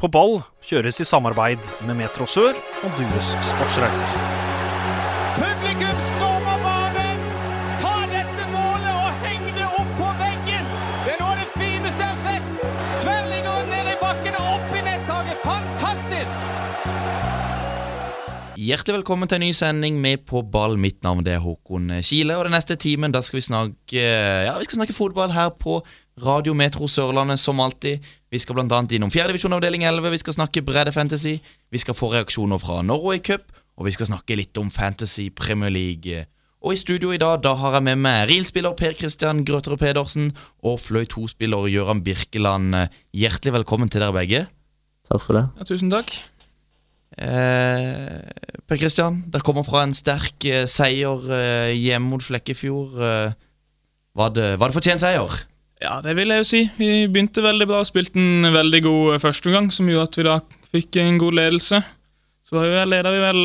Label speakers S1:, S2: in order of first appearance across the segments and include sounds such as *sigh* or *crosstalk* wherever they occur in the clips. S1: På ball kjøres i samarbeid med Metro Sør og Dues Sportsreiser.
S2: Publikum stormer banen! Ta dette målet og heng det opp på veggen! Det er noe av det fineste jeg har sett! Tverrliggeren ned i bakken og opp i nettaket! Fantastisk!
S3: Hjertelig velkommen til en ny sending med På ball. Mitt navn det er Håkon Kile. Og den neste timen da skal vi snakke eh, Ja, vi skal snakke fotball her på Radio Metro Sørlandet, som alltid. Vi skal bl.a. innom fjerdedivisjon avdeling 11. Vi skal snakke bredde fantasy. Vi skal få reaksjoner fra Norway Cup, og vi skal snakke litt om Fantasy Premier League. Og i studio i dag da har jeg med meg Real-spiller Per Christian Grøterud Pedersen og Fløy 2-spiller Gøran Birkeland. Hjertelig velkommen til dere begge.
S4: Takk for det.
S3: Eh, per Kristian, dere kommer fra en sterk eh, seier eh, hjemme mot Flekkefjord. Eh, var, det, var det fortjent seier?
S5: Ja, det vil jeg jo si. Vi begynte veldig bra og spilte en veldig god førsteomgang, som gjorde at vi da fikk en god ledelse. Så var vi vel, leda vi vel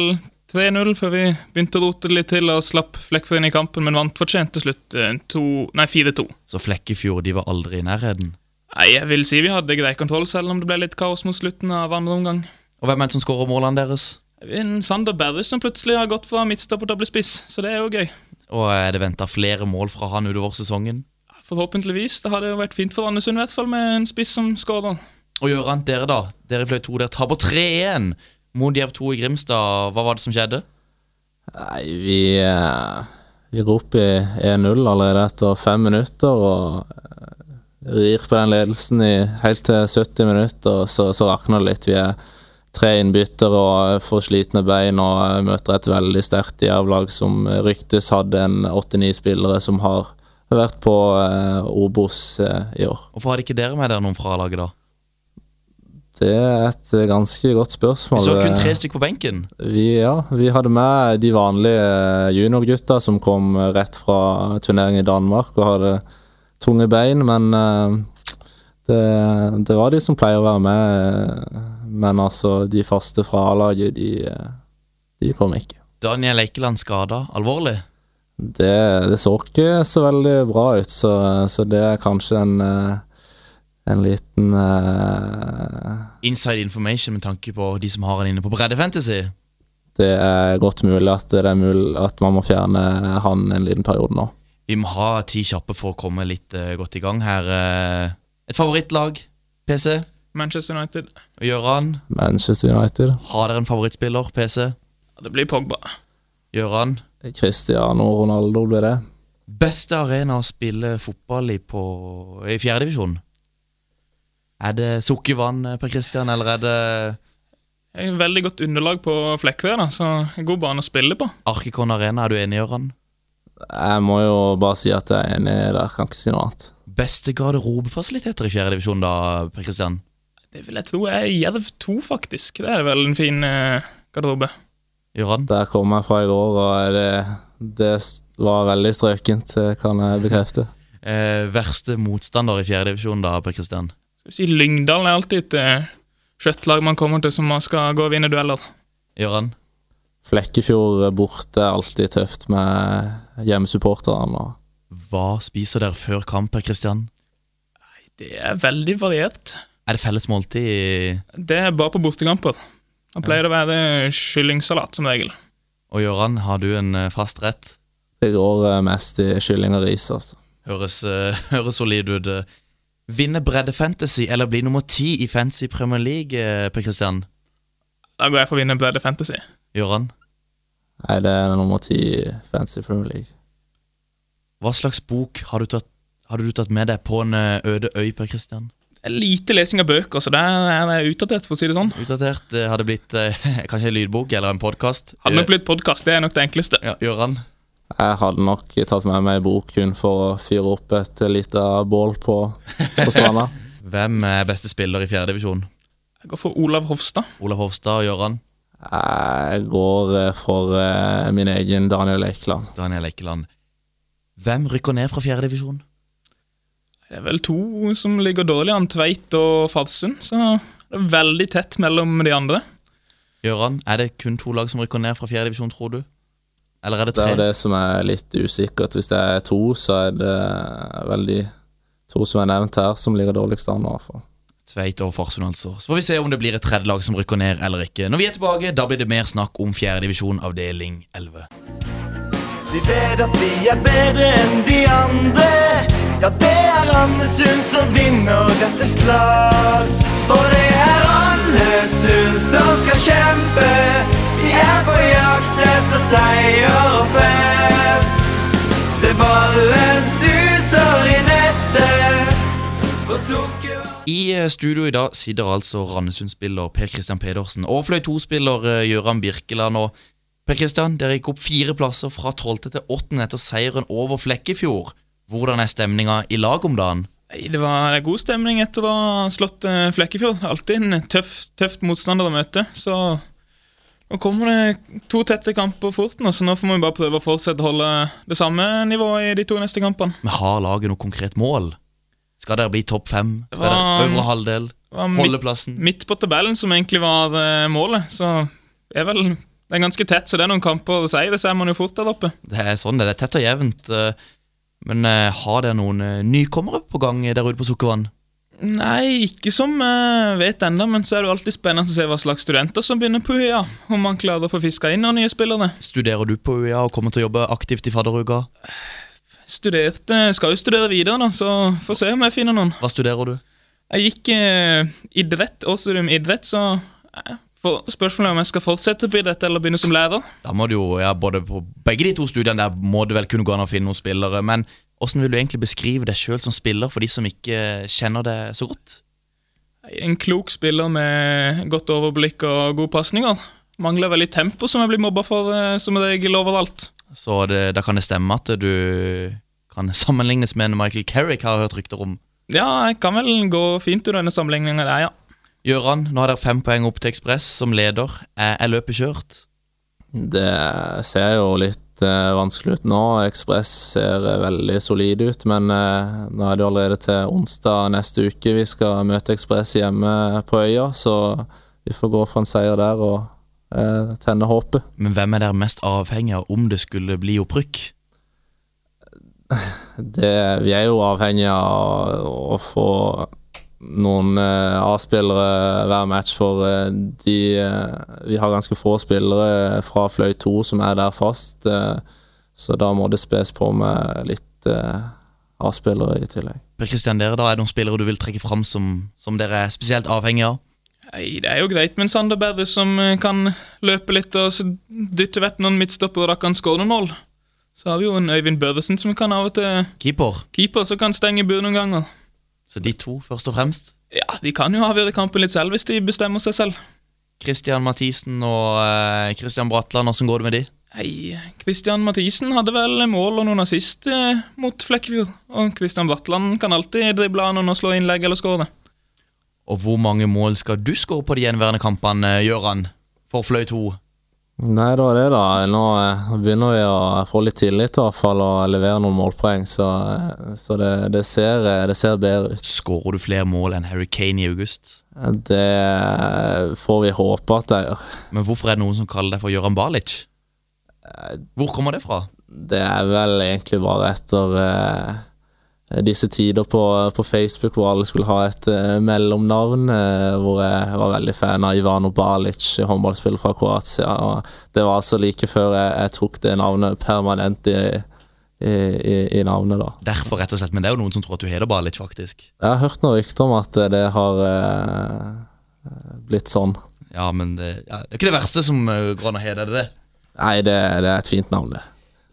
S5: 3-0 før vi begynte å rote det litt til og slapp Flekkefjord inn i kampen, men vant fortjent til slutt eh, to- nei, 4-2.
S3: Så Flekkefjord de var aldri i nærheten.
S5: Nei, jeg vil si vi hadde grei kontroll, selv om det ble litt kaos mot slutten av andre omgang.
S3: Og hvem er det som skårer målene deres?
S5: En Sander Berris som plutselig har gått fra midtstopper til å bli spiss, så det er jo gøy.
S3: Og er det venta flere mål fra han utover sesongen?
S5: Forhåpentligvis. Det hadde jo vært fint for Andesund, i hvert fall, med en spiss som skårer.
S3: Og Gøran, dere da. Dere fløy to, dere taper 3-1 mot Jerv 2 i Grimstad. Hva var det som skjedde?
S4: Nei, vi, eh, vi går opp i 1-0 allerede etter fem minutter og eh, rir på den ledelsen i helt til 70 minutter, og så, så rakner det litt. Vi er tre innbyttere og eh, får slitne bein og eh, møter et veldig sterkt Jerv-lag som eh, ryktes hadde en 89 spillere som har vært på eh, Obos eh, i år.
S3: Hvorfor hadde ikke dere med dere noen fra laget da?
S4: Det er et eh, ganske godt
S3: Vi
S4: spørsmål.
S3: så kun
S4: Eh,
S3: tre stykker på benken.
S4: Vi, ja, vi hadde med de vanlige eh, juniorgutta som kom rett fra turnering i Danmark og hadde tunge bein, men eh, det, det var de som pleier å være med. eh, Men altså, de faste fra A-laget, de, eh, de kom ikke.
S3: Daniel Eikeland skada alvorlig.
S4: Det, det så ikke så veldig bra ut, så, så det er kanskje en, eh, en liten eh,
S3: inside information med tanke på de som har han inne på Bredde Fantasy.
S4: Det er godt mulig at, det er mulig at man må fjerne han en liten periode nå.
S3: Vi må ha ti kjappe for å komme litt eh, godt i gang her. eh. et favorittlag, PC,
S5: Manchester United.
S3: og Gøran.
S4: Manchester United.
S3: Har dere en favorittspiller, PC?
S5: Ja, Det blir Pogba.
S3: Gøran.
S4: Cristiano Ronaldo ble det.
S3: Beste arena å spille fotball i på, i fjerdedivisjon? Er det sukkervann eh, per Christian, eller er det
S5: Jeg har veldig godt underlag på Flekkerøy, da, så en god bane å spille på.
S3: Arkikon Arena? Er du enig, Gøran?
S4: Jeg må jo bare si at jeg er enig der, kan ikke si noe annet.
S3: Beste garderobefasiliteter i fjerdedivisjon, da, per Christian?
S5: Det vil jeg tro er Jerv 2, faktisk. Det er vel en fin eh, garderobe.
S3: Gøran?
S4: Der kom jeg fra i går, og det, det var veldig strøkent, det kan jeg bekrefte.
S3: Eh, verste motstander i fjerdedivisjon, da, per Christian?
S5: Skal vi si Lyngdalen er alltid et eh, skjøttlag man kommer til som man skal gå og vinne dueller.
S3: Gøran?
S4: Flekkefjord borte er alltid tøft med hjemmesupporterne. og
S3: Hva spiser dere før kamp, Per Kristian?
S5: Det er veldig variert.
S3: Er det felles måltid i
S5: Det er bare på bortekamper. Da pleier det å være kyllingsalat som regel.
S3: Og Gøran, har du en eh, fast rett?
S4: Det går eh, mest i kylling og ris, altså.
S3: Høres, eh, *laughs* høres solid ut. eh. Vinne bredde fantasy eller bli nummer ti i Fantasy Premier League, eh, Per Kristian?
S5: Da går jeg for å vinne Bredde Fantasy.
S3: Gøran,
S4: Nei, det er nummer ti i Fancy Premier League.
S3: hva slags bok har du tatt, hadde du tatt med deg på en eh, øde øy, Per Kristian?
S5: Det er lite lesing av bøker, så der er jeg utdatert, for å si det sånn.
S3: Utdatert. Det hadde blitt eh, *laughs* kanskje en lydbok eller en podkast.
S5: Hadde nok blitt podkast, det er nok det enkleste.
S3: Ja, Gøran,
S4: Jeg hadde nok tatt med meg en bok kun for å fyre opp et lite bål på, på stranda.
S3: hvem er beste spiller i fjerdedivisjon?
S5: Jeg går for Olav Hofstad.
S3: Olav Hofstad og Gøran?
S4: Jeg går eh, for eh, min egen Daniel Eikeland.
S3: Daniel Eikeland. Hvem rykker ned fra fjerdedivisjon?
S5: Det er vel to som ligger dårlig an, Tveit og Farsund. Så det er veldig tett mellom de andre.
S3: Gøran, er det kun to lag som rykker ned fra fjerde divisjon, tror du? Eller er det
S4: Det
S3: tre?
S4: er jo det som er litt usikkert. Hvis det er to, så er det vel de to som er nevnt her, som ligger dårligst an. i hvert fall.
S3: Tveit og Farsund, altså. Så får vi se om det blir et tredje lag som rykker ned eller ikke. Når vi er tilbake, da blir det mer snakk om fjerdedivisjon avdeling 11.
S6: Vi vet at vi er bedre enn de andre. Ja, det er Andesund som vinner dette slag. For det er Andesund som skal kjempe. Vi er på jakt etter seier og fest. Se ballen suser i nettet. Og sukker
S3: I eh, studio i dag sitter altså Randesund-spiller Per Christian Pedersen og Fløy 2-spiller eh, Gøran Birkeland. Og per Christian, dere gikk opp fire plasser fra 12. til 8. etter seieren over Flekkefjord. Hvordan er stemninga i lag om dagen?
S5: Nei, Det var god stemning etter å ha slått eh, Flekkefjord. Alltid en tøff, tøff motstander å møte. Så nå kommer det to tette kamper fort, nå, så nå får vi bare prøve å fortsette å holde det samme nivået i de to neste kampene.
S3: Men har laget noe konkret mål? Skal dere bli topp fem? Skal
S5: var-
S3: dere øvre halvdel?
S5: Det var midt,
S3: Holdeplassen?
S5: midt på tabellen som egentlig var eh, målet, så det er vel det er ganske tett, så det er noen kamper å si. Det ser man jo fort der oppe.
S3: Det er sånn det er. Det er tett og jevnt. eh, Men eh, har dere noen eh, nykommere på gang der ute på Sukkervann?
S5: Nei, ikke som jeg vet ennå, men så er det jo alltid spennende å se hva slags studenter som begynner på UiA. Om man klarer å få fiska inn noen nye spillere.
S3: Studerer du på UiA og kommer til å jobbe aktivt i fadderuka?
S5: Studerte, skal jo studere videre, da, så får se om jeg finner noen.
S3: Hva studerer du?
S5: Jeg gikk eh, idrett, og studium idrett, så eh, for spørsmålet er om jeg skal fortsette på idrett eller begynne som lærer.
S3: Da må du jo, ja, både på Begge de to studiene der må det vel kunne gå an å finne noen spillere. Men hvordan vil du egentlig beskrive deg sjøl som spiller for de som ikke eh, kjenner deg så godt?
S5: En klok spiller med godt overblikk og gode pasninger. Mangler veldig tempo, som jeg blir mobba for eh, som regel overalt.
S3: Så det, da kan det stemme at du kan sammenlignes med en Michael Kerrick, har jeg hørt rykter om.
S5: Ja, jeg kan vel gå fint ut av denne sammenligninga der, ja.
S3: Gøran, nå har dere fem poeng opp til Ekspress som leder. Eh, Er, er løpet kjørt?
S4: Det ser jo litt eh, vanskelig ut nå. Ekspress ser eh, veldig solid ut, men eh, nå er det jo allerede til onsdag neste uke vi skal møte Ekspress hjemme på øya, så vi får gå for en seier der og eh, tenne håpet.
S3: Men hvem er dere mest avhengig av om det skulle bli opprykk?
S4: det, vi er jo avhengig av å få noen eh, A-spillere hver match, for eh, de eh, Vi har ganske få spillere fra Fløy 2 som er der fast, eh, så da må det spes på med litt eh, A-spillere i tillegg.
S3: Per Christian, dere da, er det noen spillere du vil trekke fram som, som dere er spesielt avhengig av?
S5: Nei, det er jo greit med en Sander Berre som eh, kan løpe litt og så dytte vekk noen midtstoppere og da kan skåre noen mål. Så har vi jo en Øyvind Børresen som kan av og til
S3: Keeper.
S5: keeper, som kan stenge bur noen ganger.
S3: Så de to, først og fremst.
S5: Ja, de kan jo avgjøre kampen litt selv hvis de bestemmer seg selv.
S3: Christian Mathisen og eh, Christian Bratland, hvordan går det med de?
S5: Nei, Christian Mathisen hadde vel mål og noen assist eh, mot Flekkefjord. Og Christian Bratland kan alltid drible av noen og slå innlegg eller skåre.
S3: Og hvor mange mål skal du skåre på de gjenværende kampene, Gøran? For Fløy 2.
S4: Nei, det var det, da. Nå eh, begynner vi å få litt tillit, i hvert fall, og levere noen målpoeng, så, eh, så det, det, ser, eh, det ser bedre ut.
S3: Skårer du flere mål enn Harry Kane i august?
S4: Det eh, får vi håpe at jeg gjør.
S3: Men hvorfor er det noen som kaller deg for Gøran Balic? Eh, Hvor kommer det fra?
S4: Det er vel egentlig bare etter eh, disse tider på, på Facebook hvor alle skulle ha et eh, mellomnavn, eh, hvor jeg var veldig fan av Ivano Balic, håndballspiller fra Kroatia. Og det var altså like før jeg, jeg tok det navnet permanent i, i, i, i navnet, da.
S3: Derfor, rett og slett. Men det er jo noen som tror at du heter Balic, faktisk.
S4: Jeg har hørt noen rykter om at det har eh, blitt sånn.
S3: Ja, men det, ja, det er ikke det verste som eh, går an å hete, er det det?
S4: Nei, det, det er et fint navn, det.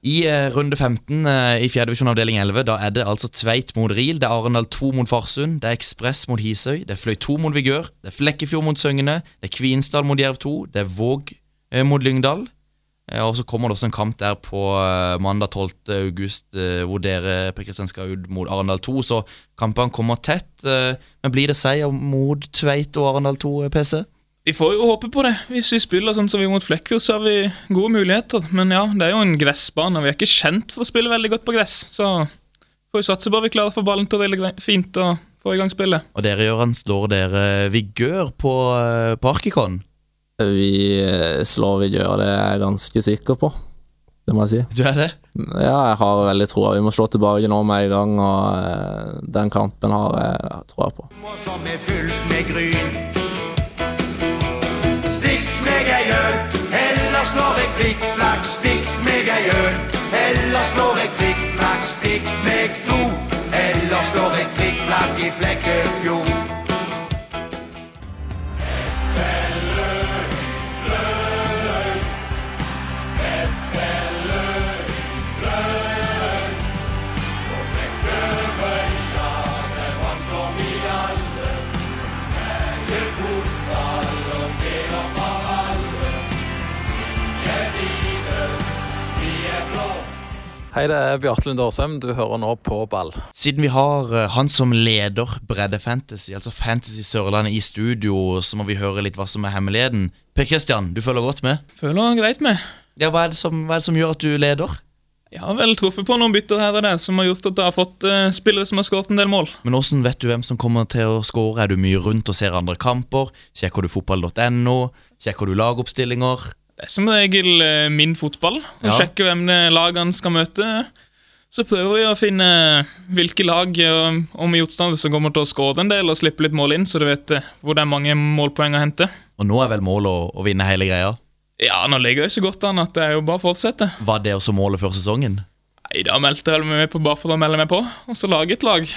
S3: I eh, runde 15 eh, i 4. divisjon avdeling 11 da er det altså Tveit mot Ril, det er Arendal 2 mot Farsund, det er Ekspress mot Hisøy, det er Fløy 2 mot Vigør, det er Flekkefjord mot Søgne, det er Kvinesdal mot Jerv 2, det er Våg eh, mot Lyngdal. Eh, og så kommer det også en kamp der på eh, mandag 12. august eh, hvor dere Per Kristian skal ut mot Arendal 2, så kampene kommer tett. Eh, men blir det seier mot Tveit og Arendal 2 eh, PC?
S5: Vi får jo håpe på det. Hvis vi spiller sånn som vi gjorde mot Flekkefjord, så har vi gode muligheter. Men ja, det er jo en gressbane, og vi er ikke kjent for å spille veldig godt på gress. Så får vi satse på at vi klarer å få ballen til å rille gre- fint og få i gang spillet.
S3: Og dere, Gøran, slår dere Vigør på, eh, på Arkikon?
S4: Vi eh, slår vi gjør, det er jeg ganske sikker på. det må jeg si.
S3: Du er det?
S4: Ja, jeg har veldig troa. Vi må slå tilbake nå med en gang, og eh, den kampen har jeg troa på.
S6: Og som er fylt med gryn. Stikk meg ei øl, ellers slår jeg flikkflakk. Stikk meg ei øl, ellers slår jeg flikkflakk. Stikk meg to, ellers slår jeg flikkflakk i Flekkefjord.
S7: Hei, det er Bjarte Lund Aasheim. Du hører nå på ball.
S3: Siden vi har eh, han som leder Bredde Fantasy, altså Fantasy Sørlandet, i studio, så må vi høre litt hva som er hemmeligheten. Per Christian, du følger godt med?
S5: Føler han greit med.
S3: Ja, hva er det som, hva er det som gjør at du leder?
S5: Jeg har vel truffet på noen bytter her og der som har gjort at jeg har fått eh, spillere som har skåret en del mål.
S3: Men åssen vet du hvem som kommer til å score? Er du mye rundt og ser andre kamper? Sjekker du fotball.no? Sjekker du lagoppstillinger?
S5: Det er som regel eh, min fotball. Å
S3: Ja.
S5: sjekke hvem det lagene skal møte. Så prøver vi å finne hvilke lag eh, og motstandere som kommer til å skåre en del og slippe litt mål inn, så du vet eh, hvor det er mange målpoeng å hente.
S3: Og nå er vel målet å, å vinne hele greia?
S5: Ja, nå ligger jeg jo så godt an at det er jo bare å fortsette.
S3: Var det også målet før sesongen?
S5: Nei, da meldte jeg vel meg med på bare for å melde meg på, og så lage et lag.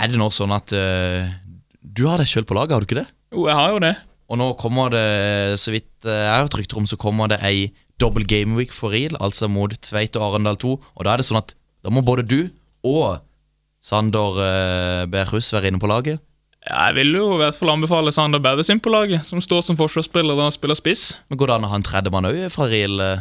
S3: Er det nå sånn at eh, du har deg sjøl på laget, har du ikke det?
S5: Jo, jeg har jo det.
S3: Og nå kommer det, så vidt eh, jeg har hørt rykter om, så kommer det ei double gameweek for real, altså mot Tveit og Arendal 2. Og da er det sånn at da må både du og Sander eh, Berhus være inne på laget.
S5: Jeg vil jo i hvert fall anbefale Sander Berres inn på laget, som står som forsvarsspiller og spiller spiss.
S3: Men går det an å ha en tredjemann òg fra real? eh?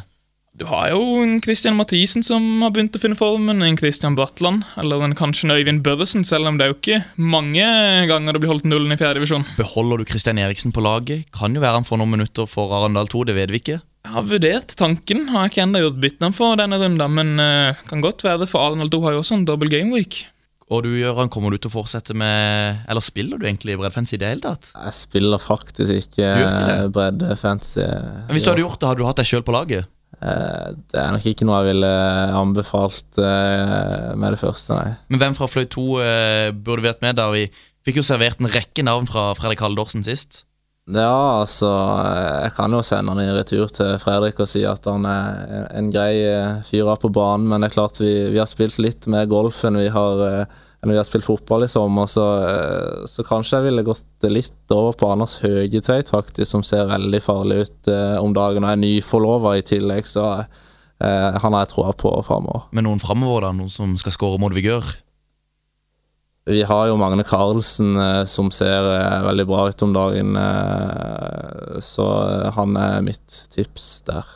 S5: Du har jo en Christian Mathisen som har begynt å finne formen, en Christian Bratland, eller en kanskje en Øyvind Børresen, selv om det er jo ikke mange ganger det blir holdt nullen i fjerde divisjon.
S3: Beholder du Kristian Eriksen på laget? Kan jo være han får noen minutter for Arendal 2, det vet vi ikke.
S5: Jeg har vurdert tanken, har ikke enda gjort byttene for denne runden, men eh, kan godt være det, for Arendal 2 har jo også en double game week.
S3: Og du, Gøran, kommer du til å fortsette med Eller spiller du egentlig breddfancy i det hele tatt?
S4: Jeg spiller faktisk ikke
S3: ikke det?
S4: eh, bredde fantasy.
S3: Men hvis du hadde gjort det, hadde du hatt deg sjøl på laget?
S4: Eh, Det er nok ikke noe jeg ville anbefalt eh, med det første, nei.
S3: Men hvem fra Fløy 2 eh, burde vi hatt med, da vi fikk jo servert en rekke navn fra Fredrik Haldorsen sist?
S4: Ja, altså eh, Jeg kan jo sende han i retur til Fredrik og si at han er en- en grei eh, fyr av på banen, men det er klart vi, vi har spilt litt mer golf enn vi har eh, enn vi har spilt fotball i sommer, så, eh, så kanskje jeg ville gått litt over på Anders Høgetøyt, faktisk, som ser veldig farlig ut eh, om dagen og er nyforlova i tillegg, så eh, han har jeg troa på framover.
S3: Med noen framover, da? Noen som skal skåre mot Vigør?
S4: Vi har jo Magne Carlsen eh, som ser eh, veldig bra ut om dagen, eh, så eh, han er mitt tips der.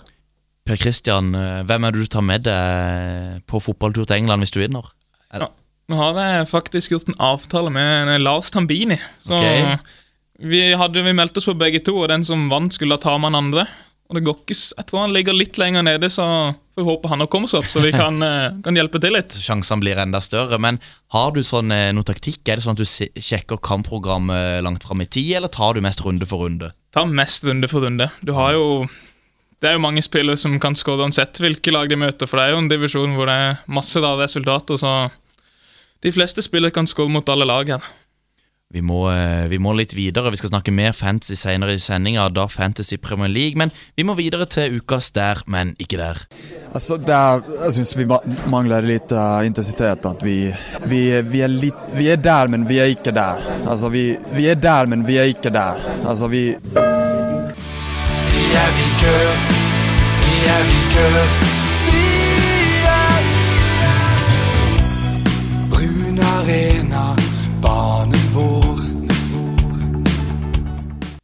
S3: Per Christian, eh, hvem er det du tar med deg på fotballtur til England hvis du vinner?
S5: Nå har jeg faktisk gjort en avtale med en Lars Tambini, så
S3: Ok.
S5: vi hadde vi meldt oss på begge to, og den som vant skulle ta med den andre. Og det går ikke, s- jeg tror han ligger litt lenger nede, så får vi håpe han har kommet seg opp, så vi kan, eh, kan hjelpe til litt.
S3: Sjansene blir enda større, men har du sånn eh, noe taktikk? Er det sånn at du se- sjekker kampprogrammet langt fram i tid, eller tar du mest runde for runde?
S5: Ta mest runde for runde. Du har jo Det er jo mange spillere som kan skåre uansett hvilke lag de møter, for det er jo en divisjon hvor det er masse rare resultater, så de fleste spillere kan skåre mot alle lag her.
S3: Vi må, eh, vi må litt videre. Vi skal snakke mer fantasy senere i sendinga, da Fantasy Premier League. Men vi må videre til ukas der, men ikke der.
S8: Altså, det er, jeg syns vi ma- mangler litt eh, intensitet. At vi, vi, vi, er litt, vi er der, men vi er ikke der. Altså, vi, vi er der, men vi er ikke der. Altså, vi,
S6: Vi er vikør, vi er vikør, vi er Brun arena, banen vår.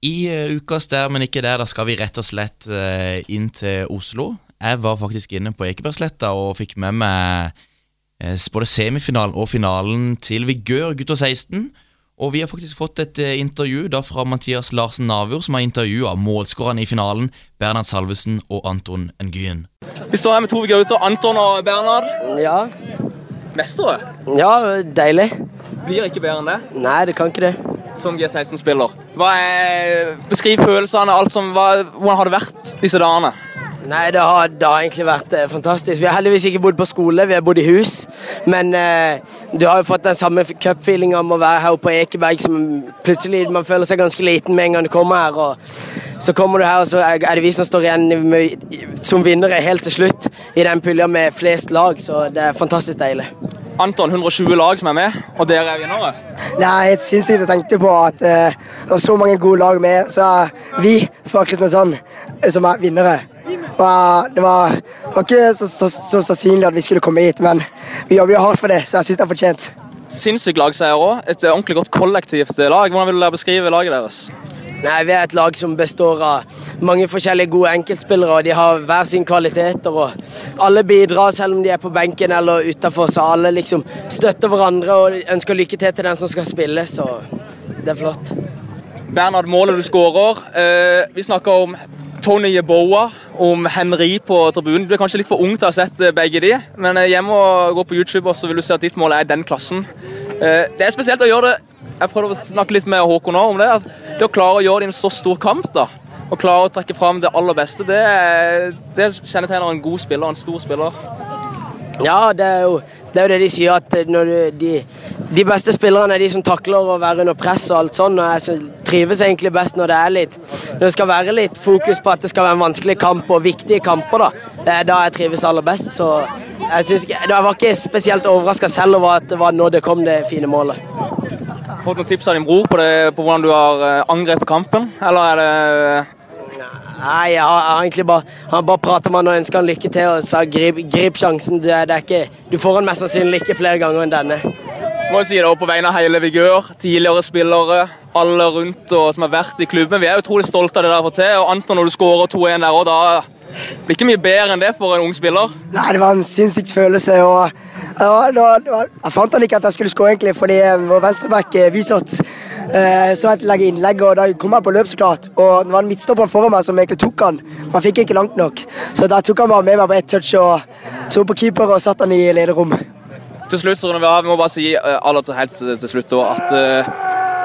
S3: I eh, ukas der, men ikke der, da skal vi rett og slett eh, inn til Oslo. Jeg var faktisk inne på Ekebergsletta og fikk med meg eh, både semifinalen og finalen til Vigør gutter 16. Og vi har faktisk fått et eh, intervju da fra Mathias Larsen Navur, som har intervjua målskårerne i finalen, Bernhard Salvesen og Anton Nguyen.
S9: Vi står her med to gutter, Anton og Bernhard.
S10: Ja,
S9: Mestere.
S10: ja deilig.
S9: Blir ikke bedre enn det,
S10: Nei, det kan ikke det.
S9: som G16-spiller. Hva er, Beskriv følelsene, alt som, hva, hvordan har det vært disse dagene?
S10: Nei, det har, det har egentlig vært eh, fantastisk. Vi har heldigvis ikke bodd på skole, vi har bodd i hus. Men eh, du har jo fått den samme f- cupfeelinga om å være her oppe på Ekeberg som plutselig man føler seg ganske liten med en gang du kommer her. Og så kommer du her, og så er er det vi som står igjen med, som vinnere helt til slutt i den pulja med flest lag, så det er fantastisk deilig.
S9: Anton, 120 lag som er med, og dere er vinnere.
S11: Det er helt sinnssykt å tenke på at eh, det er så mange gode lag med. Så er vi fra Kristiansand eh, som er vinnere. Og, eh, det var, det var ikke så, så, så sannsynlig at vi skulle komme hit, men vi jobber jo hardt for det, så jeg syns det er fortjent.
S9: Sinnssykt lagseier òg. Et eh, ordentlig godt kollektivt eh, lag. Hvordan vil dere beskrive laget deres?
S10: Nei, Vi er et lag som består av mange forskjellige gode enkeltspillere. og De har hver sin kvaliteter. og Alle bidrar, selv om de er på benken eller utafor. Så alle liksom støtter hverandre og ønsker lykke til til den som skal spille. Så det er flott.
S9: Bernhard, målet du skårer. Eh, vi snakker om Tony Yeboa, om Henry på tribunen. Du er kanskje litt for ung til å ha sett eh, begge de, men eh, hjemme og gå på YouTube, og så vil du se at ditt mål er i den klassen. Eh, det er spesielt å gjøre det Jeg prøvde å snakke litt med Håkon også om det. At det å klare å gjøre det i en så stor kamp, da, og klare å trekke fram det aller beste, det, er- det kjennetegner en god spiller, en stor spiller.
S10: Ja, det er jo det, er jo det de sier, at eh, når du, de, de beste spillerne er de som takler å være under press og alt sånn. Og jeg syns- trives egentlig best når det er litt Når det skal være litt fokus på at det skal være en vanskelig kamp og viktige kamper, da. Det er da jeg trives aller best. Så jeg, synes, ikke- jeg var ikke spesielt overraska selv over at det var nå det kom det fine målet.
S9: Har du fått noen tips av din bror på, det, på hvordan du har eh, angrepet kampen, eller er det
S10: Nei, jeg har, jeg har egentlig bare, han bare pratet med han og ønsket han lykke til og sa grip, grip sjansen. Det, er- det er ikke, du får han mest sannsynlig ikke flere ganger enn denne.
S9: Må jo si det også på vegne av hele Vigør, tidligere spillere, alle rundt og som har vært i klubben. Vi er utrolig stolte av det der å få til. Og Anton, når du skårer 2-1 der òg, da blir ikke mye bedre enn det for en ung spiller.
S11: Nei, det var en sinnssykt følelse. og ja, det var, det var, Jeg fant han ikke at jeg skulle skåre, egentlig, fordi eh, vår venstreback eh, Wisot eh, så et legge innlegg, og da kom jeg på løp, så klart. Og det var en midtstopper foran meg som egentlig tok han. men Han fikk ikke langt nok. Så da tok han bare med meg på ett touch og så opp på keeper og satte han i lederrom.
S9: Til slutt så runder vi av. Vi må bare si eh, aller til helt til slutt også, at eh,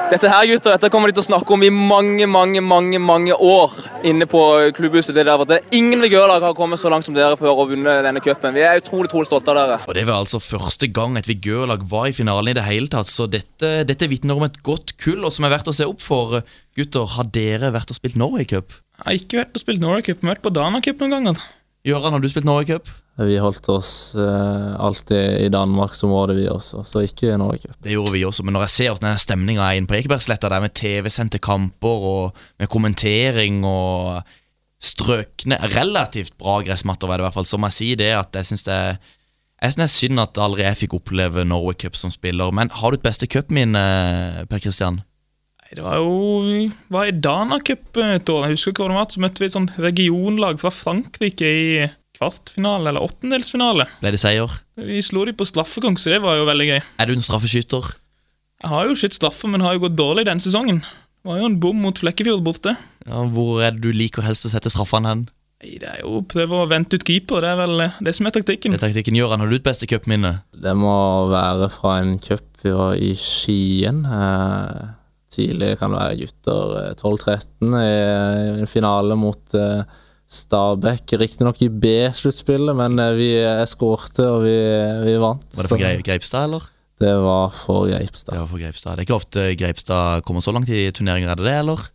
S9: dette her, gutter, dette kommer de til å snakke om i mange, mange, mange mange år inne på klubbhuset. Det der, for det. Ingen Vigør-lag har kommet så langt som dere før og vunnet denne cupen. Vi er utrolig, utrolig stolte av dere.
S3: Og Det var altså første gang et vigørlag var i finalen i det hele tatt, så dette, dette vitner om et godt kull, og som er verdt å se opp for. Gutter, har dere vært og spilt Norway Cup?
S5: Jeg har ikke vært og spilt Norway Cup, men vært på Dana Cup noen ganger.
S3: Gøran, har du spilt Norway Cup?
S4: Vi holdt oss eh, alltid i Danmarksområdet, vi også, så ikke i Norge.
S3: Det gjorde vi også, men når jeg ser hvordan denne stemninga er inne på Ekebergsletta, der med TV-sendte kamper og med kommentering og strøkne Relativt bra gressmatter, var det i hvert fall. Så må jeg si det at jeg syns det er jeg synes det er synd at aldri jeg fikk oppleve Norway Cup som spiller. Men har du et beste cupminne, Per Christian?
S5: Nei, Det var jo Vi var i Dana Cup eh, et år. Jeg husker ikke hvor det var. Så møtte vi et sånn regionlag fra Frankrike i kvartfinale eller åttendelsfinale.
S3: Ble det seier?
S5: Vi slo de på straffekonk, så det var jo veldig gøy.
S3: Er du en straffeskytter?
S5: Jeg har jo skutt straffer, men har jo gått dårlig den sesongen. Det var jo en bom mot Flekkefjord borte.
S3: Ja, hvor er det du liker helst å sette straffene hen?
S5: Nei, det er jo å prøve å vente ut keeper. Det er vel eh, det som er taktikken.
S3: Det er taktikken Gøran, har du et beste cupminne?
S4: Det må være fra en cup vi var i Skien. eh, Tidlig kan det være gutter eh, 12-13 i en finale mot eh, Stabæk. Riktignok i B-sluttspillet, men eh, vi eh, skårte og vi, eh, vi vant.
S3: Var det for
S4: så-
S3: Grei- Greipstad, eller?
S4: Det var for Greipstad.
S3: Det var for Greipstad. Det er ikke ofte Greipstad kommer så langt i turneringer, er det det, eller?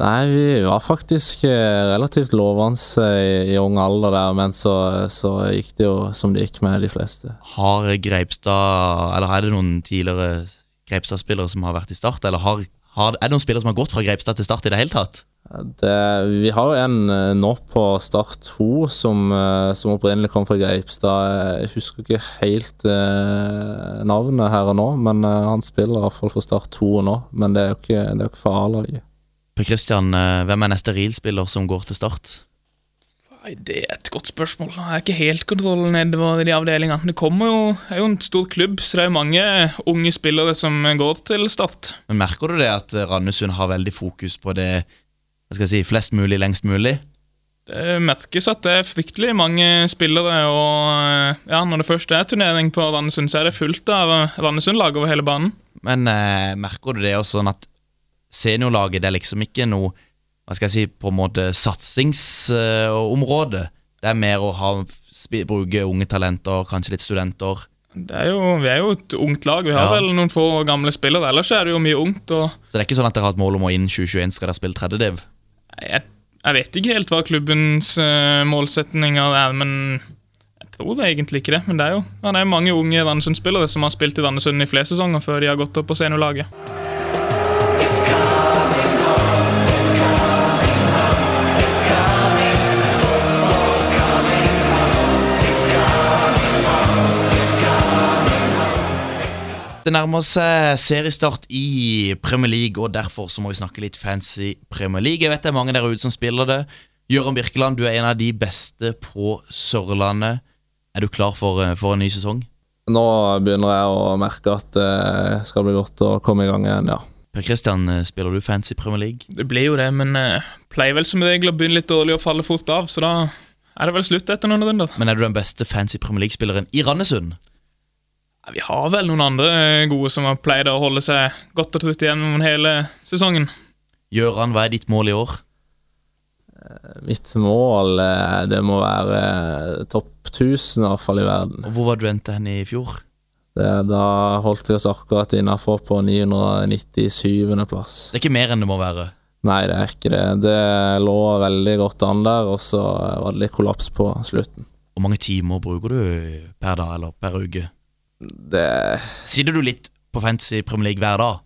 S4: Nei, vi var faktisk eh, relativt lovende i, i ung alder der, men så, eh, så gikk det jo som det gikk med de fleste.
S3: Har Greipstad Eller er det noen tidligere Greipstad-spillere som har vært i Start? Eller har, har, er det noen spillere som har gått fra Greipstad til Start i det hele tatt?
S4: Det, vi har jo en eh, nå på Start 2 som, eh, som opprinnelig kom fra Greipstad. Jeg husker ikke helt eh, navnet her og nå, men eh, han spiller i hvert fall for Start 2 nå. Men det er jo ikke, det er jo ikke for A-laget.
S3: Per Christian, eh, hvem er neste Real-spiller som går til Start?
S5: Nei, Det er et godt spørsmål. Jeg har ikke helt kontroll nedover i de avdelingene. Det kommer jo, er jo en stor klubb, så det er jo mange unge spillere som går til Start.
S3: Men Merker du det at eh, Randesund har veldig fokus på det hva skal jeg si, flest mulig, lengst mulig?
S5: Det merkes at det er fryktelig mange spillere, og eh, ja, når det først er turnering på Randesund, så er det fullt av Randesund-lag over hele banen.
S3: Men eh, merker du det også sånn at seniorlaget det er liksom ikke noe hva hva skal jeg si, på en måte satsingsområdet. Det er mer å ha, sp- bruke unge talenter, kanskje litt studenter.
S5: Det er jo, vi er jo et ungt lag. Vi har
S3: Ja.
S5: vel noen få gamle spillere. Ellers er det jo mye ungt. og
S3: Så det er ikke sånn at dere har et mål om å innen 2021 skal dere spille tredjediv.
S5: jeg, jeg vet ikke helt hva klubbens uh, målsetninger er, men jeg tror det er egentlig ikke det. Men det er jo ja, det er mange unge Randesund-spillere som har spilt i Randesund i flere sesonger før de har gått opp på seniorlaget.
S3: Det nærmer seg seriestart i Premier League, og derfor så må vi snakke litt fancy Premier League. Jeg vet det er mange der ute som spiller det. Gøran Birkeland, du er en av de beste på Sørlandet. Er du klar for, eh, for en ny sesong?
S4: Nå begynner jeg å merke at eh, det skal bli godt å komme i gang igjen, ja.
S3: Per Christian, eh, spiller du fancy Premier League?
S5: Det blir jo det, men eh, pleier vel som regel å begynne litt dårlig og falle fort av, så da er det vel slutt etter noen runder.
S3: Men er du den beste fancy Premier League-spilleren i Randesund?
S5: Ja, vi har vel noen andre eh, gode som har pleid å holde seg godt og trutt gjennom hele sesongen.
S3: Gøran, hva er ditt mål i år?
S4: Mitt mål eh, det må være eh, topp 1000, i hvert fall i verden.
S3: Og Hvor var du endte hen i fjor?
S4: Det, da holdt vi oss akkurat innafor på 997. plass.
S3: Det er ikke mer enn det må være.
S4: Nei, det er ikke det. Det lå veldig godt an der, og så var det litt kollaps på slutten.
S3: Hvor mange timer bruker du per dag eller per uke?
S4: Det
S3: Sitter du litt på fancy Premier League hver dag?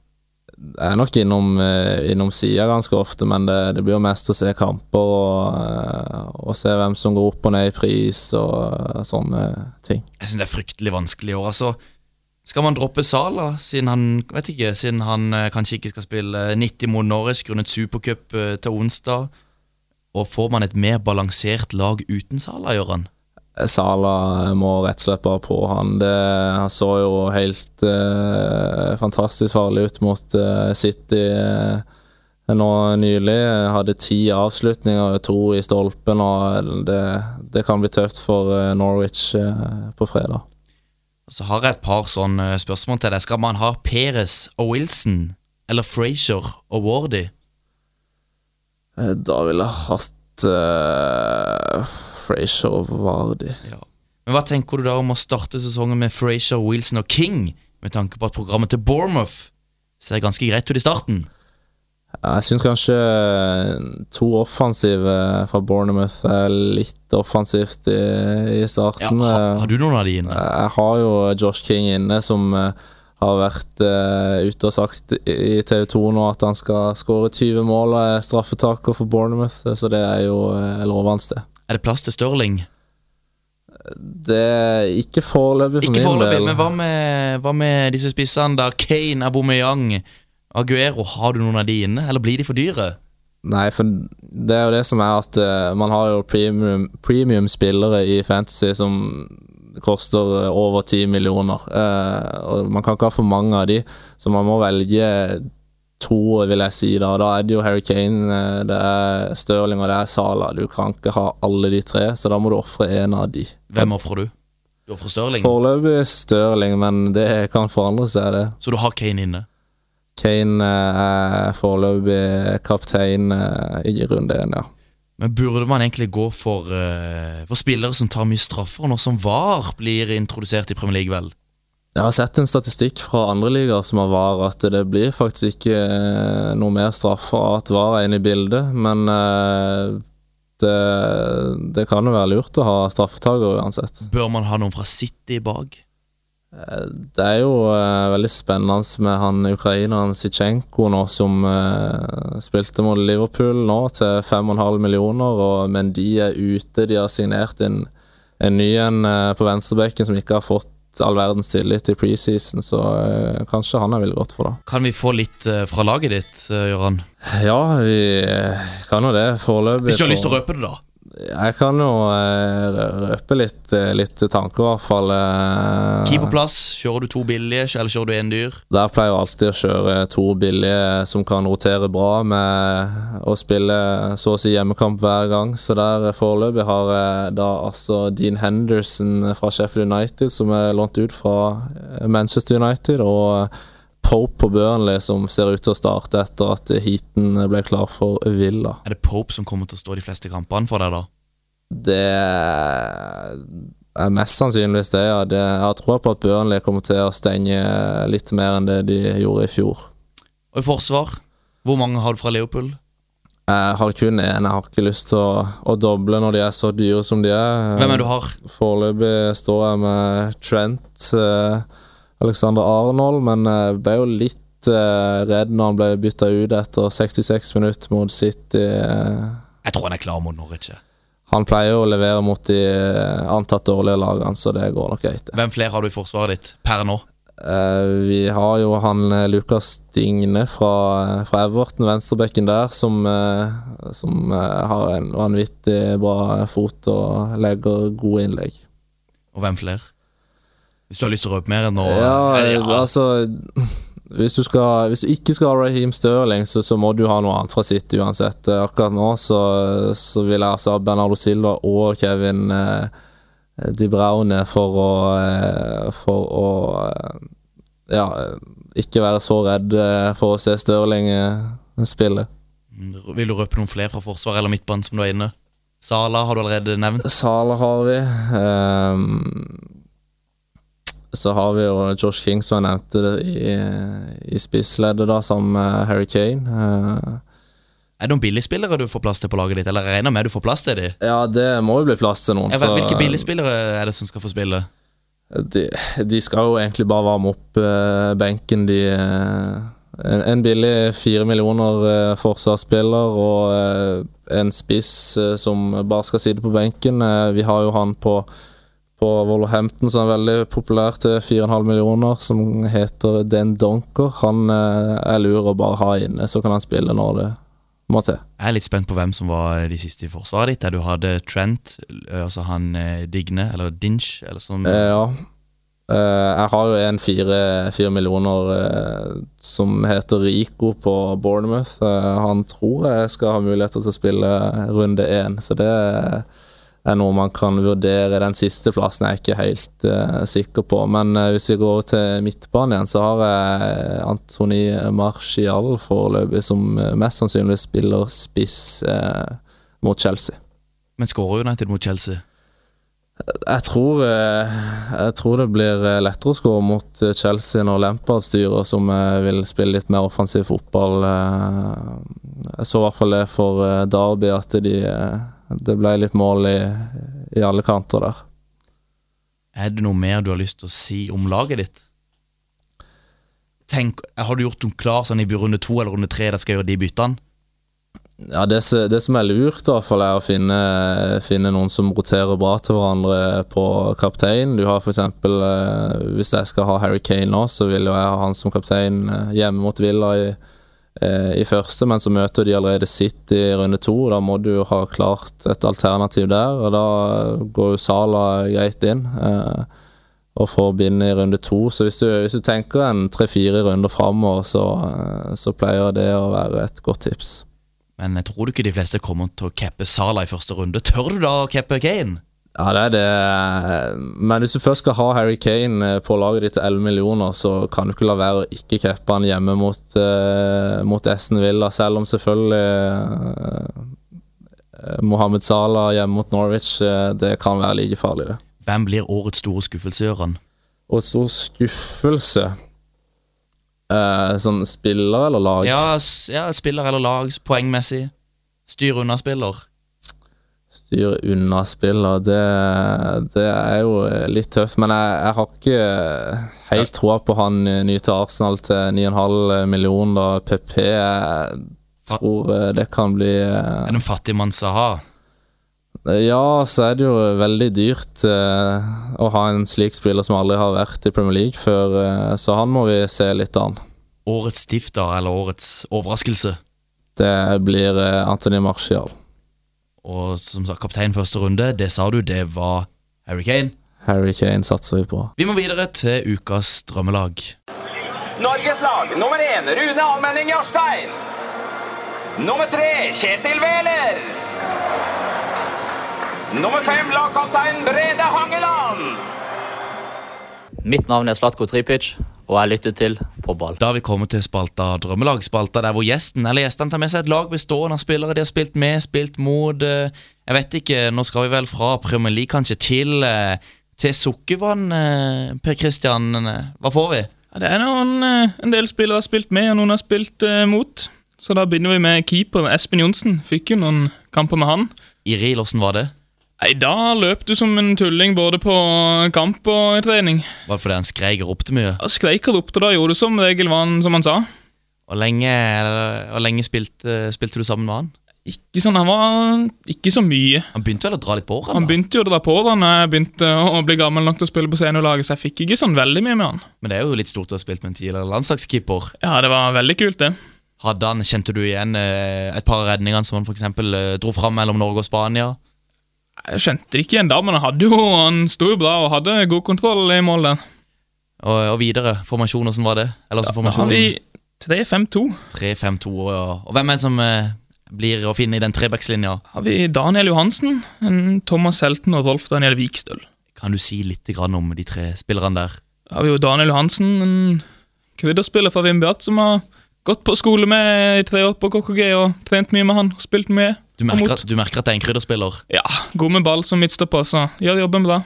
S4: Jeg er nok innom, eh, innom sida ganske ofte, men det, det blir jo mest å se kamper og, eh, og se hvem som går opp og ned i pris og eh, sånne ting.
S3: Jeg synes det er fryktelig vanskelig i år. Altså, skal man droppe Sala, siden han vet ikke, siden han eh, kanskje ikke skal spille eh, 90 mot Norwich grunnet supercup eh, til onsdag? Og får man et mer balansert lag uten Sala, Gøran?
S4: Sala må rett og slett bare på han. Det, han så jo helt eh, fantastisk farlig ut mot eh, City eh, nå nylig. Hadde ti avslutninger, to i stolpen, og det, det kan bli tøft for eh, Norwich eh, på fredag.
S3: Og Så har jeg et par sånne eh, spørsmål til deg. Skal man ha Perez og Wilson, eller Frazier og Wardy?
S4: Eh, Da ville jeg hatt uh, Frazier og Vardy.
S3: Men hva tenker du da om å starte sesongen med Frazier, Wilson og King, med tanke på at programmet til Bournemouth ser ganske greit ut i starten?
S4: Jeg syns kanskje eh, to offensive eh, fra Bournemouth er litt offensivt i, i starten. eh. har,
S3: du noen av de inne?
S4: Jeg har jo Josh King inne, som eh, har vært eh, ute og sagt i TV 2 nå at han skal skåre 20 mål og er straffetaker for Bournemouth, så det er jo eh, lovende, det.
S3: Er det plass til Stirling?
S4: Det er ikke foreløpig for
S3: Ikke
S4: min
S3: foreløpig,
S4: del.
S3: men hva med, hva med disse spissene da? Kane, Aubameyang, Aguero. Har du noen av de inne, eller blir de for dyre?
S4: Nei, for det er jo det som er at eh, man har jo premium, premium spillere i fantasy som koster eh, over 10 millioner. Eh, og man kan ikke ha for mange av de, så man må velge to, vil jeg si. Da Da er det jo Harry Kane, eh, det er Stirling og det er Sala. Du kan ikke ha alle de tre, så da må du ofre en av de.
S3: Hvem ofrer du? Du ofrer Stirling,
S4: Foreløpig Stirling, men det kan forandre seg, det.
S3: så du har Kane inne.
S4: Kane eh, er foreløpig kaptein eh, i runde én, ja.
S3: Men burde man egentlig gå for, eh, for spillere som tar mye straffer, når som VAR blir introdusert i Premier League, vel?
S4: Jeg har sett en statistikk fra andre ligaer som har VAR, at det blir faktisk ikke eh, noe mer straffer av at VAR er inne i bildet, men eh, det, det kan jo være lurt å ha straffetaker uansett.
S3: Bør man ha noen fra City bak?
S4: Det er jo eh, veldig spennende med han ukraineren Sitsjenko nå, som eh, spilte mot Liverpool nå til 5,5 millioner, og, men de er ute. De har signert en, en ny en eh, på venstrebekken som ikke har fått all verdens tillit i preseason, så eh, kanskje han er veldig godt for det.
S3: Kan vi få litt eh, fra laget ditt, eh, Gøran?
S4: Ja, vi eh, kan jo det foreløpig.
S3: Hvis du har lyst til å røpe det, da.
S4: Jeg kan jo eh, rø- røpe litt, eh, litt tanker, i hvert fall. eh.
S3: Keeperplass. Kjører du to billige, eller kjører du én dyr?
S4: Der pleier jeg alltid å kjøre to billige som kan rotere bra, med å spille så å si hjemmekamp hver gang. Så der eh, foreløpig har jeg da altså Dean Henderson fra Sheffield United, som er lånt ut fra eh, Manchester United, og Pope på Burnley som ser ut til å starte etter at heaten ble klar for Villa.
S3: Er det Pope som kommer til å stå de fleste kampene for deg, da?
S4: Det er mest sannsynligvis det, ja. Det, jeg har troa på at Burnley kommer til å stenge litt mer enn det de gjorde i fjor.
S3: Og i forsvar, hvor mange har du fra Leopold?
S4: Jeg har kun én. Jeg har ikke lyst til å, å doble når de er så dyre som de er.
S3: Hvem er det du har?
S4: Foreløpig står jeg med Trent, eh, Alexander Arnold, men jeg ble jo litt eh, redd når han ble bytta ut etter 66 minutter mot City.
S3: Jeg tror han er klar mot Norwich. jeg.
S4: Han pleier jo å levere mot de eh, antatt dårlige lagene, så det går nok greit.
S3: Hvem flere har du i forsvaret ditt per nå?
S4: Eh, vi har jo han eh, Lukas Stigne fra, eh, fra Everton, venstrebekken der, som, eh, som eh, har en vanvittig bra fot og legger gode innlegg.
S3: Og hvem flere? Hvis du har lyst til å røpe mer enn nå
S4: Ja,
S3: eller, ja.
S4: altså hvis du, skal, hvis du ikke skal ha Raheem Sterling, så, så må du ha noe annet fra City uansett. Eh, Akkurat nå så, så vil jeg altså ha Bernardo Silva og Kevin eh, De Bruyne for å eh, For å eh, Ja, eh, ikke være så redd eh, for å se Sterling eh, spille.
S3: Mm, Vil du røpe noen flere fra forsvaret eller midtbanen som du er inne? Sala har du allerede nevnt.
S4: Sala har vi. Ehm, så har vi jo Josh King, som jeg nevnte, det, i, i spissleddet, da, sammen med Harry Kane. Eh,
S3: Er det noen billigspillere du får plass til på laget ditt, eller regner med du får plass til de?
S4: ja, det må jo bli plass til noen,
S3: Ja, vel,
S4: så-
S3: Hvilke billigspillere er det som skal få spille?
S4: de, de skal jo egentlig bare varme opp eh, benken. De, eh, en, en billig fire millioner eh, forsvarsspiller og eh, en spiss eh, som bare skal sitte på benken. Eh, vi har jo han på, på Wolverhampton som er veldig populær til 4,5 millioner, som heter Den Donker. Han eh, er lur å bare ha inne, så kan han spille når det må til.
S3: Jeg er litt spent på hvem som var de siste i forsvaret ditt. Der du hadde Trent, eh, altså han eh, Digne, eller Dinch, eller sånn? som
S4: Eh, ja. Eh, jeg har jo en fire, fire millioner eh, som heter Rico på Bournemouth. Eh, han tror jeg skal ha muligheter til å spille runde én, så det er noe man kan vurdere. Den siste plassen er jeg ikke helt eh, sikker på, men eh, hvis vi går over til midtbanen igjen, så har jeg Antony Marcial foreløpig, som eh, mest sannsynlig spiller spiss eh, mot Chelsea.
S3: Men skårer United mot Chelsea.
S4: Jeg tror, eh, jeg tror det blir eh, lettere å skåre mot eh, Chelsea når Lampard styrer, som eh, vil spille litt mer offensiv fotball. eh. Jeg så i hvert fall det for eh, Derby, at de, eh, det ble litt mål i, i alle kanter der.
S3: Er det noe mer du har lyst til å si om laget ditt? Tenk, Har du gjort dem klar sånn i runde to eller runde tre der skal gjøre de byttene?
S4: Ja, det, som- det som er lurt, i hvert fall, er å finne, finne noen som roterer bra til hverandre på kaptein. Du har for eksempel, eh, Hvis jeg skal ha Harry Kane nå, så vil jo jeg ha han som kaptein eh, hjemme mot Villa i, eh, i første, men så møter de allerede City i runde to. Da må du jo ha klart et alternativ der, og da går jo Sala greit inn. eh, Og får bindet i runde to. Så hvis du, hvis du tenker en tre-fire runder framover, så, eh, så pleier det å være et godt tips.
S3: Men jeg tror du ikke de fleste kommer til å cappe Sala i første runde? Tør du da å cappe Kane?
S4: Ja, det er det. Men hvis du først skal ha Harry Kane eh, på laget ditt til 11 millioner, så kan du ikke la være å ikke cappe han hjemme mot, eh, mot Esten Villa, selv om selvfølgelig eh, Mohammed Salah hjemme mot Norwich, eh, det kan være like farlig, det.
S3: Hvem blir årets store skuffelse, Gøran?
S4: Årets store skuffelse Eh, Sånn spiller eller lag?
S3: Ja, s- ja, spiller eller lag, poengmessig. Styr unna spiller.
S4: styre unna spiller, det, det er jo litt tøft. Men jeg, jeg har ikke helt troa på han nye til Arsenal til 9,5 millioner. da. PP jeg tror eh, det kan bli eh,
S3: Er det en fattig mann Saha?
S4: Ja, så er det jo veldig dyrt eh, å ha en slik spiller som aldri har vært i Premier League før, eh, så han må vi se litt an.
S3: Årets stifter eller årets overraskelse?
S4: Det blir eh, Anthony Martial.
S3: Og som sagt, kaptein første runde, det sa du, det var Harry Kane.
S4: Harry Kane satser vi på.
S3: Vi må videre til ukas drømmelag.
S2: Norges lag nummer én Rune Almenning Jarstein. Nummer tre Kjetil Wæler. Nummer fem lagkaptein Brede Hangeland.
S12: Mitt navn er Slatko Tripic, og jeg lytter til på ball.
S3: Da har vi kommet til spalta Drømmelagspalta, der hvor gjesten eller gjestene tar med seg et lag bestående av spillere de har spilt med, spilt mot eh, Jeg vet ikke, nå skal vi vel fra Premier League kanskje til eh, Til Sukkervann, eh, Per Christian. eh, Hva får vi?
S5: Ja, det er noen, eh, en del spillere har spilt med, og noen har spilt eh, mot. Så da begynner vi med keeper Espen Johnsen. Fikk jo noen kamper med han.
S3: Iril, åssen var det?
S5: Nei, Da løp du som en tulling både på kamp og i trening.
S3: Var det fordi han skreik og ropte mye?
S5: Da skreik og ropte, da gjorde du som regel hva han, som han sa.
S3: Hvor lenge, eller, hvor lenge spilte, spilte du sammen med han?
S5: Ikke sånn, Han var ikke så mye.
S3: Han begynte vel å dra litt på årene?
S5: Han begynte jo å dra på da når jeg begynte å bli gammel nok til å spille på seniorlaget, så jeg fikk ikke sånn veldig mye med han.
S3: Men det er jo litt stort å ha spilt med en tidligere landslagskeeper.
S5: Ja, det var veldig kult, det.
S3: Hadde han, Kjente du igjen eh, et par av redningene som han for eksempel, eh, dro fram mellom Norge og Spania?
S5: Jeg skjønte det ikke igjen da, men han hadde jo, han sto jo bra og hadde god kontroll i mål der.
S3: Og, og videre, formasjon, hvordan var det? Eller så
S5: Da har
S3: formasjon
S5: vi 3-5-2.
S3: 3-5-2, ja. Og hvem er det som eh, blir å finne i den trebackslinja?
S5: Har vi Daniel Johansen, en Thomas Helten og Rolf Daniel Vikstøl.
S3: Kan du si litt grann om de tre spillerne der?
S5: Da har vi jo Daniel Johansen, en krydderspiller fra Vindbjart, som har gått på skole med i tre år på KKG og trent mye med han, og spilt mye.
S3: Du
S5: og
S3: merker,
S5: mot.
S3: at, du merker at det er en krydderspiller.
S5: Ja, god med ball som midtstopper, så gjør jobben bra.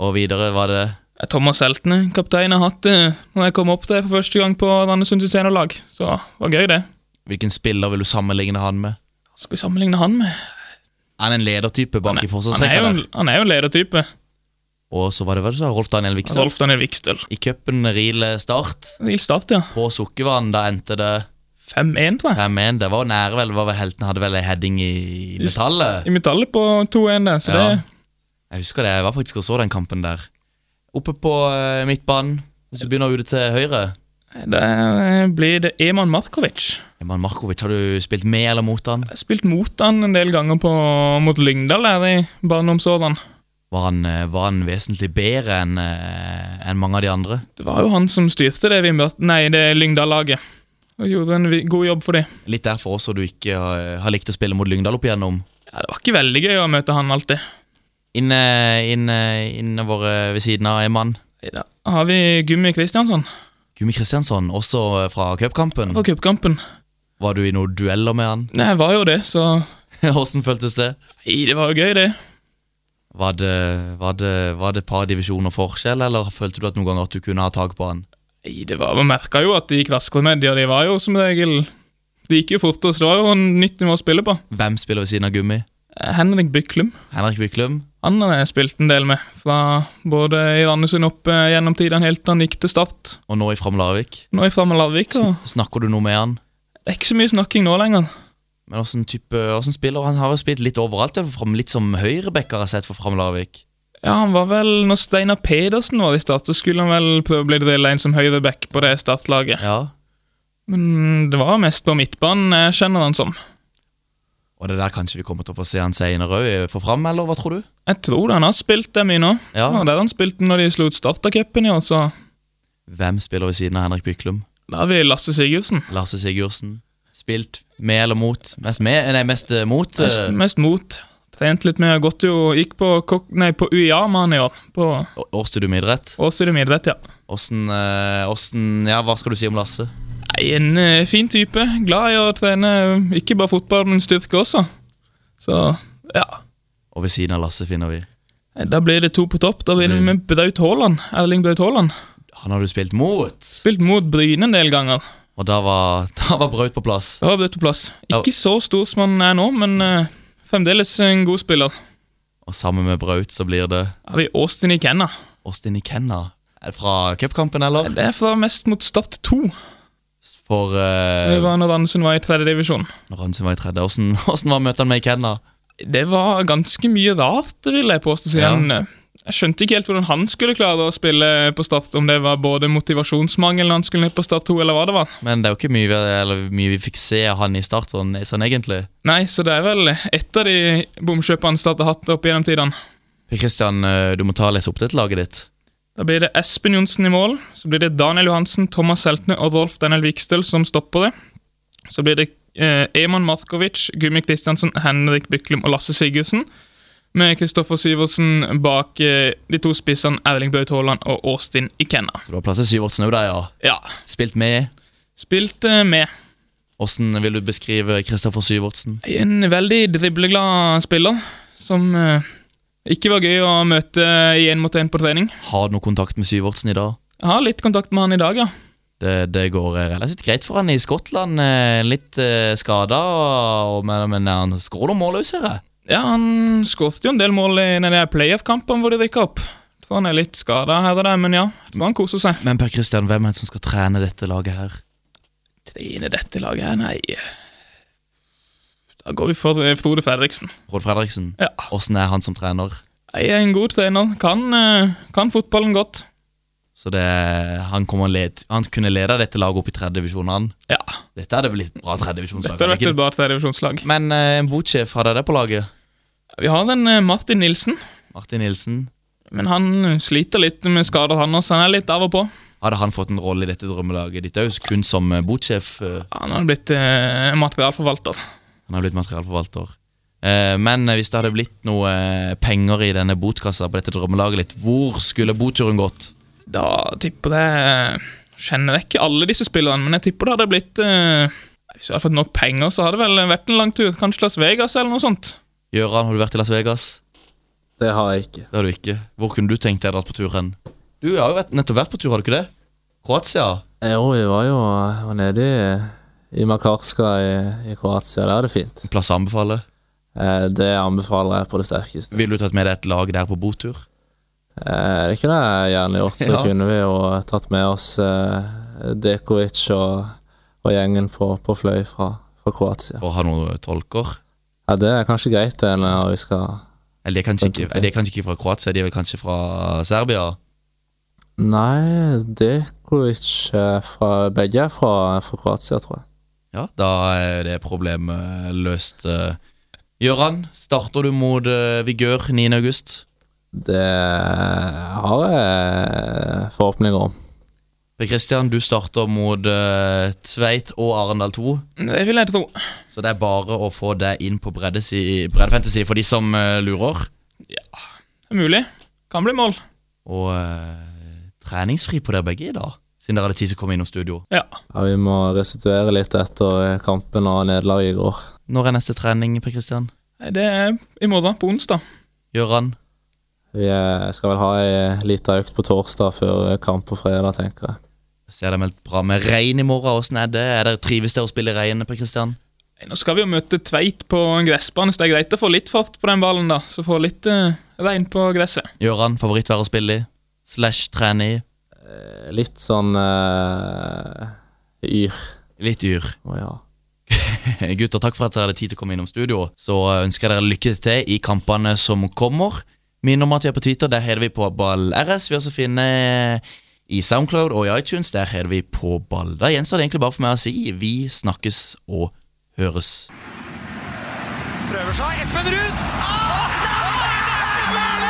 S3: Og videre var det
S5: Thomas Heltene, kaptein, har hatt det når jeg kom opp der for første gang på Randesund sitt seniorlag, så det var gøy, det.
S3: Hvilken spiller vil du sammenligne han med?
S5: Hva skal vi sammenligne han med?
S3: Er han en ledertype bak i
S5: Han er jo,
S3: forsvarsrekka der?
S5: en- han er jo en ledertype.
S3: Og så var det vel så Rolf Daniel Vikstøl?
S5: Rolf Daniel Vikstøl.
S3: I cupen Riel Start.
S5: Riel Start, ja.
S3: På Sukkervann, da endte det
S5: 5-1, tror jeg.
S3: 5-1, Det var nære, vel. Var vel helten hadde vel ei heading i i metallet?
S5: I metallet på 2-1 der, så
S3: Ja.
S5: det
S3: Jeg husker det. Jeg var faktisk og så den kampen der. Oppe på eh, midtbanen. Hvis du begynner ute til høyre
S5: Da blir det Eman Markovic.
S3: Eman Markovic, har du spilt med eller mot han?
S5: Jeg har spilt mot han en del ganger på, mot Lyngdal der i barndomsårene.
S3: Var han, eh, var han vesentlig bedre enn eh, enn mange av de andre?
S5: Det var jo han som styrte det, Vimbert, nei, det Lyngdal-laget. Og gjorde en vi- god jobb for det.
S3: Litt derfor også du ikke har, har likt å spille mot Lyngdal opp igjennom.
S5: Ja, Det var ikke veldig gøy å møte han alltid.
S3: Inne, inne, inne våre eh, ved siden av Eman.
S5: Har vi Gummi Kristiansson
S3: Gumi Kristiansson, også fra cupkampen.
S5: fra cupkampen?
S3: Var du i noen dueller med han? *laughs*
S5: Nei, jeg var jo det, så
S3: Hvordan føltes det?
S5: Nei, det var jo gøy, det.
S3: Var det, var det, var det et par divisjoner forskjell, eller følte du at noen ganger at du kunne ha tak på han?
S5: Nei, det var Man merka jo at de gikk raskere med de, og de var jo som regel De gikk jo fortere, så det var jo en nytt nivå å spille på. Eh,
S3: Hvem spiller ved siden av Gummi?
S5: Henrik Byklum.
S3: Henrik Byklum?
S5: Han har jeg spilt en del med, fra både i Randesund opp eh, gjennom tiden helt til han gikk til Start.
S3: Og nå i Fram Larvik?
S5: Nå er jeg framme Larvik, og
S3: Snakker du noe med han?
S5: det er ikke så mye snakking nå lenger.
S3: Men hvordan type, hvordan spiller han? Han har jo spilt litt overalt, ja, for Fram- litt som høyrebacker har jeg sett for Fram Larvik.
S5: Ja, han var vel, Når Steinar Pedersen var i Start, så skulle han vel prøve å bli drilla inn som høyreback på det Start-laget.
S3: Ja.
S5: Men det var mest på midtbanen jeg kjenner han som.
S3: Og det der kanskje vi kommer til å få se han senere òg, for Fram, eller hva tror du?
S5: Jeg tror han har spilt det mye nå.
S3: Ja.
S5: Det var der han spilte når de slo ut Startercupen i år, så
S3: Hvem spiller ved siden av Henrik Byklum?
S5: da har vi Lasse Sigurdsen.
S3: Lasse Sigurdsen. Spilt med eller mot? Mest med? Nei, mest eh, mot. eh,
S5: Mest, mest mot. Trent litt mer. Gått jo, gikk på, kok- nei, på UiA med han i år. På
S3: å- Årsstudium i idrett.
S5: Åsøydum idrett, ja.
S3: Åssen eh, åssen- Ja, hva skal du si om Lasse?
S5: Nei, En eh, fin type. Glad i å trene eh, ikke bare fotball, men styrke også. Så ja.
S3: Og ved siden av Lasse finner vi
S5: Da blir det to på topp. Da blir det med Braut Haaland. Erling Braut Haaland.
S3: Han har du spilt mot.
S5: Spilt mot Bryne en del ganger.
S3: Og da var, *laughs* da var Braut på plass.
S5: Da har Braut på plass. Ikke så stor som han er nå, men eh, fremdeles en god spiller.
S3: Og sammen med Braut så blir det
S5: Har vi Austin Ikenna.
S3: Austin Ikenna. Er det fra cupkampen, eller?
S5: Det er fra mest mot Start 2.
S3: For
S5: Det
S3: uh,
S5: var når Andersen var i tredje divisjon.
S3: Når Hansen var i tredje. *laughs* Åssen åssen var møtet med Ikenna?
S5: Det var ganske mye rart, vil jeg påstå.
S3: Ja.
S5: siden eh, Jeg skjønte ikke helt hvordan han skulle klare å spille på Start, om det var både motivasjonsmangel når han skulle ned på Start 2, eller hva det var.
S3: Men det er jo ikke mye vi, eller, mye vi fikk se av han i start, sånn, sånn egentlig.
S5: Nei, så det er vel ett av de bomkjøpene Start har hatt opp gjennom tidene.
S3: Per Christian, eh, du må ta og lese opp dette laget ditt.
S5: Da blir det Espen Johnsen i mål, så blir det Daniel Johansen, Thomas Heltne og Rolf Daniel Vikstøl som stopper det. Så blir det eh, Eman Markovic, Gummi Kristiansen, Henrik Byklum og Lasse Sigurdsen. med Kristoffer Syversen bak eh, de to spissene Erling Braut Haaland og Austin Ikenna.
S3: Så du har plass til Syvertsen òg, da? Ja. Spilt med?
S5: Spilt eh, med.
S3: Hvordan vil du beskrive Kristoffer Syvertsen?
S5: En veldig dribleglad spiller, som eh, ikke var gøy å møte i én mot én på trening.
S3: Har du noe kontakt med Syvertsen i dag?
S5: Jeg har litt kontakt med han i dag, ja.
S3: Det, det går eh, relativt greit for han i Skottland. eh, Litt eh, skada, og- og- men, men han skårer noen mål òg, ser jeg.
S5: Ja, Han skåret jo en del mål i den der playoff-kampen hvor de rykka opp. Jeg tror han er litt skada her og der, men ja. Jeg tror han koser seg.
S3: Men Per Christian, hvem er det som skal trene dette laget her?
S5: Trine dette laget her, nei Da går vi for eh, Frode Fredriksen.
S3: Rolf Fredriksen? Ja. Åssen er han som trener?
S5: Jeg er en god trener. Kan, eh, kan fotballen godt.
S3: Så det, han, kommer led, han kunne lede dette laget opp i tredje divisjon, han?
S5: Ja.
S3: Dette hadde blitt et bra tredje divisjonslag.
S5: Dette har vært et bra tredjevisjonslag.
S3: Men eh, en botsjef, har dere det på laget?
S5: Vi har en eh, Martin Nilsen.
S3: Martin Nilsen.
S5: Men han eh, sliter litt med skader, han også. Han er litt av og på.
S3: Hadde han fått en rolle i dette drømmelaget ditt òg, kun som eh, botsjef? eh?
S5: Han har blitt eh, materialforvalter.
S3: Han har blitt materialforvalter. Eh, Men hvis det hadde blitt noe eh, penger i denne botkassa på dette drømmelaget litt, hvor skulle boturen gått?
S5: Da tipper jeg Kjenner jeg ikke alle disse spillerne, men jeg tipper det hadde blitt eh, Hvis jeg hadde fått nok penger, så hadde det vel vært en lang tur. Kanskje Las Vegas eller noe sånt.
S3: Gøran, har du vært i Las Vegas?
S4: Det har jeg ikke.
S3: Det har du ikke. Hvor kunne du tenkt deg dratt på tur hen? Du har jo vært, nettopp vært på tur, har du ikke det? Kroatia?
S4: Jo, Eh, vi var jo eh, var nede i, i Makarska i, i Kroatia. Der er det fint.
S3: Plass å anbefale?
S4: Eh, det anbefaler jeg på det sterkeste.
S3: Ville du tatt med deg et lag der på botur?
S4: Eh, det er ikke det jeg gjerne gjort. Så
S3: Ja.
S4: kunne vi jo tatt med oss eh, Dekovic og, og gjengen på, på fløy fra, fra Kroatia.
S3: Og ha noen tolker?
S4: Ja, det er kanskje greit det når vi skal
S3: Eller de er kanskje ikke, de er kanskje ikke fra Kroatia, de er vel kanskje fra Serbia?
S4: Nei, Dekovic eh, fra Begge er fra, fra Kroatia, tror jeg.
S3: Ja, da er det problemet løst. Eh, Gøran, starter du mot eh, Vigør 9. august?
S4: Det har jeg forhåpninger om.
S3: Per Christian, du starter mot eh, Tveit og Arendal 2.
S5: Det vil jeg tro.
S3: Så det er bare å få deg inn på breddesi- breddefantasy for de som eh, lurer.
S5: Det er mulig. Kan bli mål.
S3: Og eh, treningsfri på dere begge i dag, siden dere hadde tid til å komme innom studio.
S4: Ja, vi må restituere litt etter kampen og nederlaget i går.
S3: Når er neste trening, Per Christian?
S5: Nei, Det er i morgen, på onsdag.
S3: Gøran?
S4: Vi eh, skal vel ha ei lita økt på torsdag før kamp på fredag, tenker jeg.
S3: Jeg ser det meldt bra med regn i morgen. Åssen er det? Er det trives dere å spille i regnet, Per Christian?
S5: Nei, Nå skal vi jo møte Tveit på en gressbane, så det er greit å få litt fart på den ballen, da. Så få litt eh, regn på gresset.
S3: Gøran, favorittvær å spille i? Slash trene i?
S4: Litt sånn eh, yr.
S3: Litt yr.
S4: Å ja.
S3: *laughs* Gutter, takk for at dere hadde tid til å komme innom studio. Så eh, ønsker jeg dere lykke til i kampene som kommer. Minn om at vi er på Twitter, der heter vi på Ball RS. Vi også finner i Soundcloud og i iTunes, der heter vi på Ball. Da gjenstår det egentlig bare for meg å si vi snakkes og høres.
S2: Prøver seg. Espen Ruud! Ah! Nei!